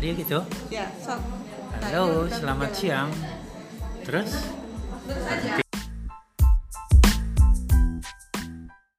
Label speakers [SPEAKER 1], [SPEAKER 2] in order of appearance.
[SPEAKER 1] dia gitu
[SPEAKER 2] Ya, sok.
[SPEAKER 1] halo selamat siang terus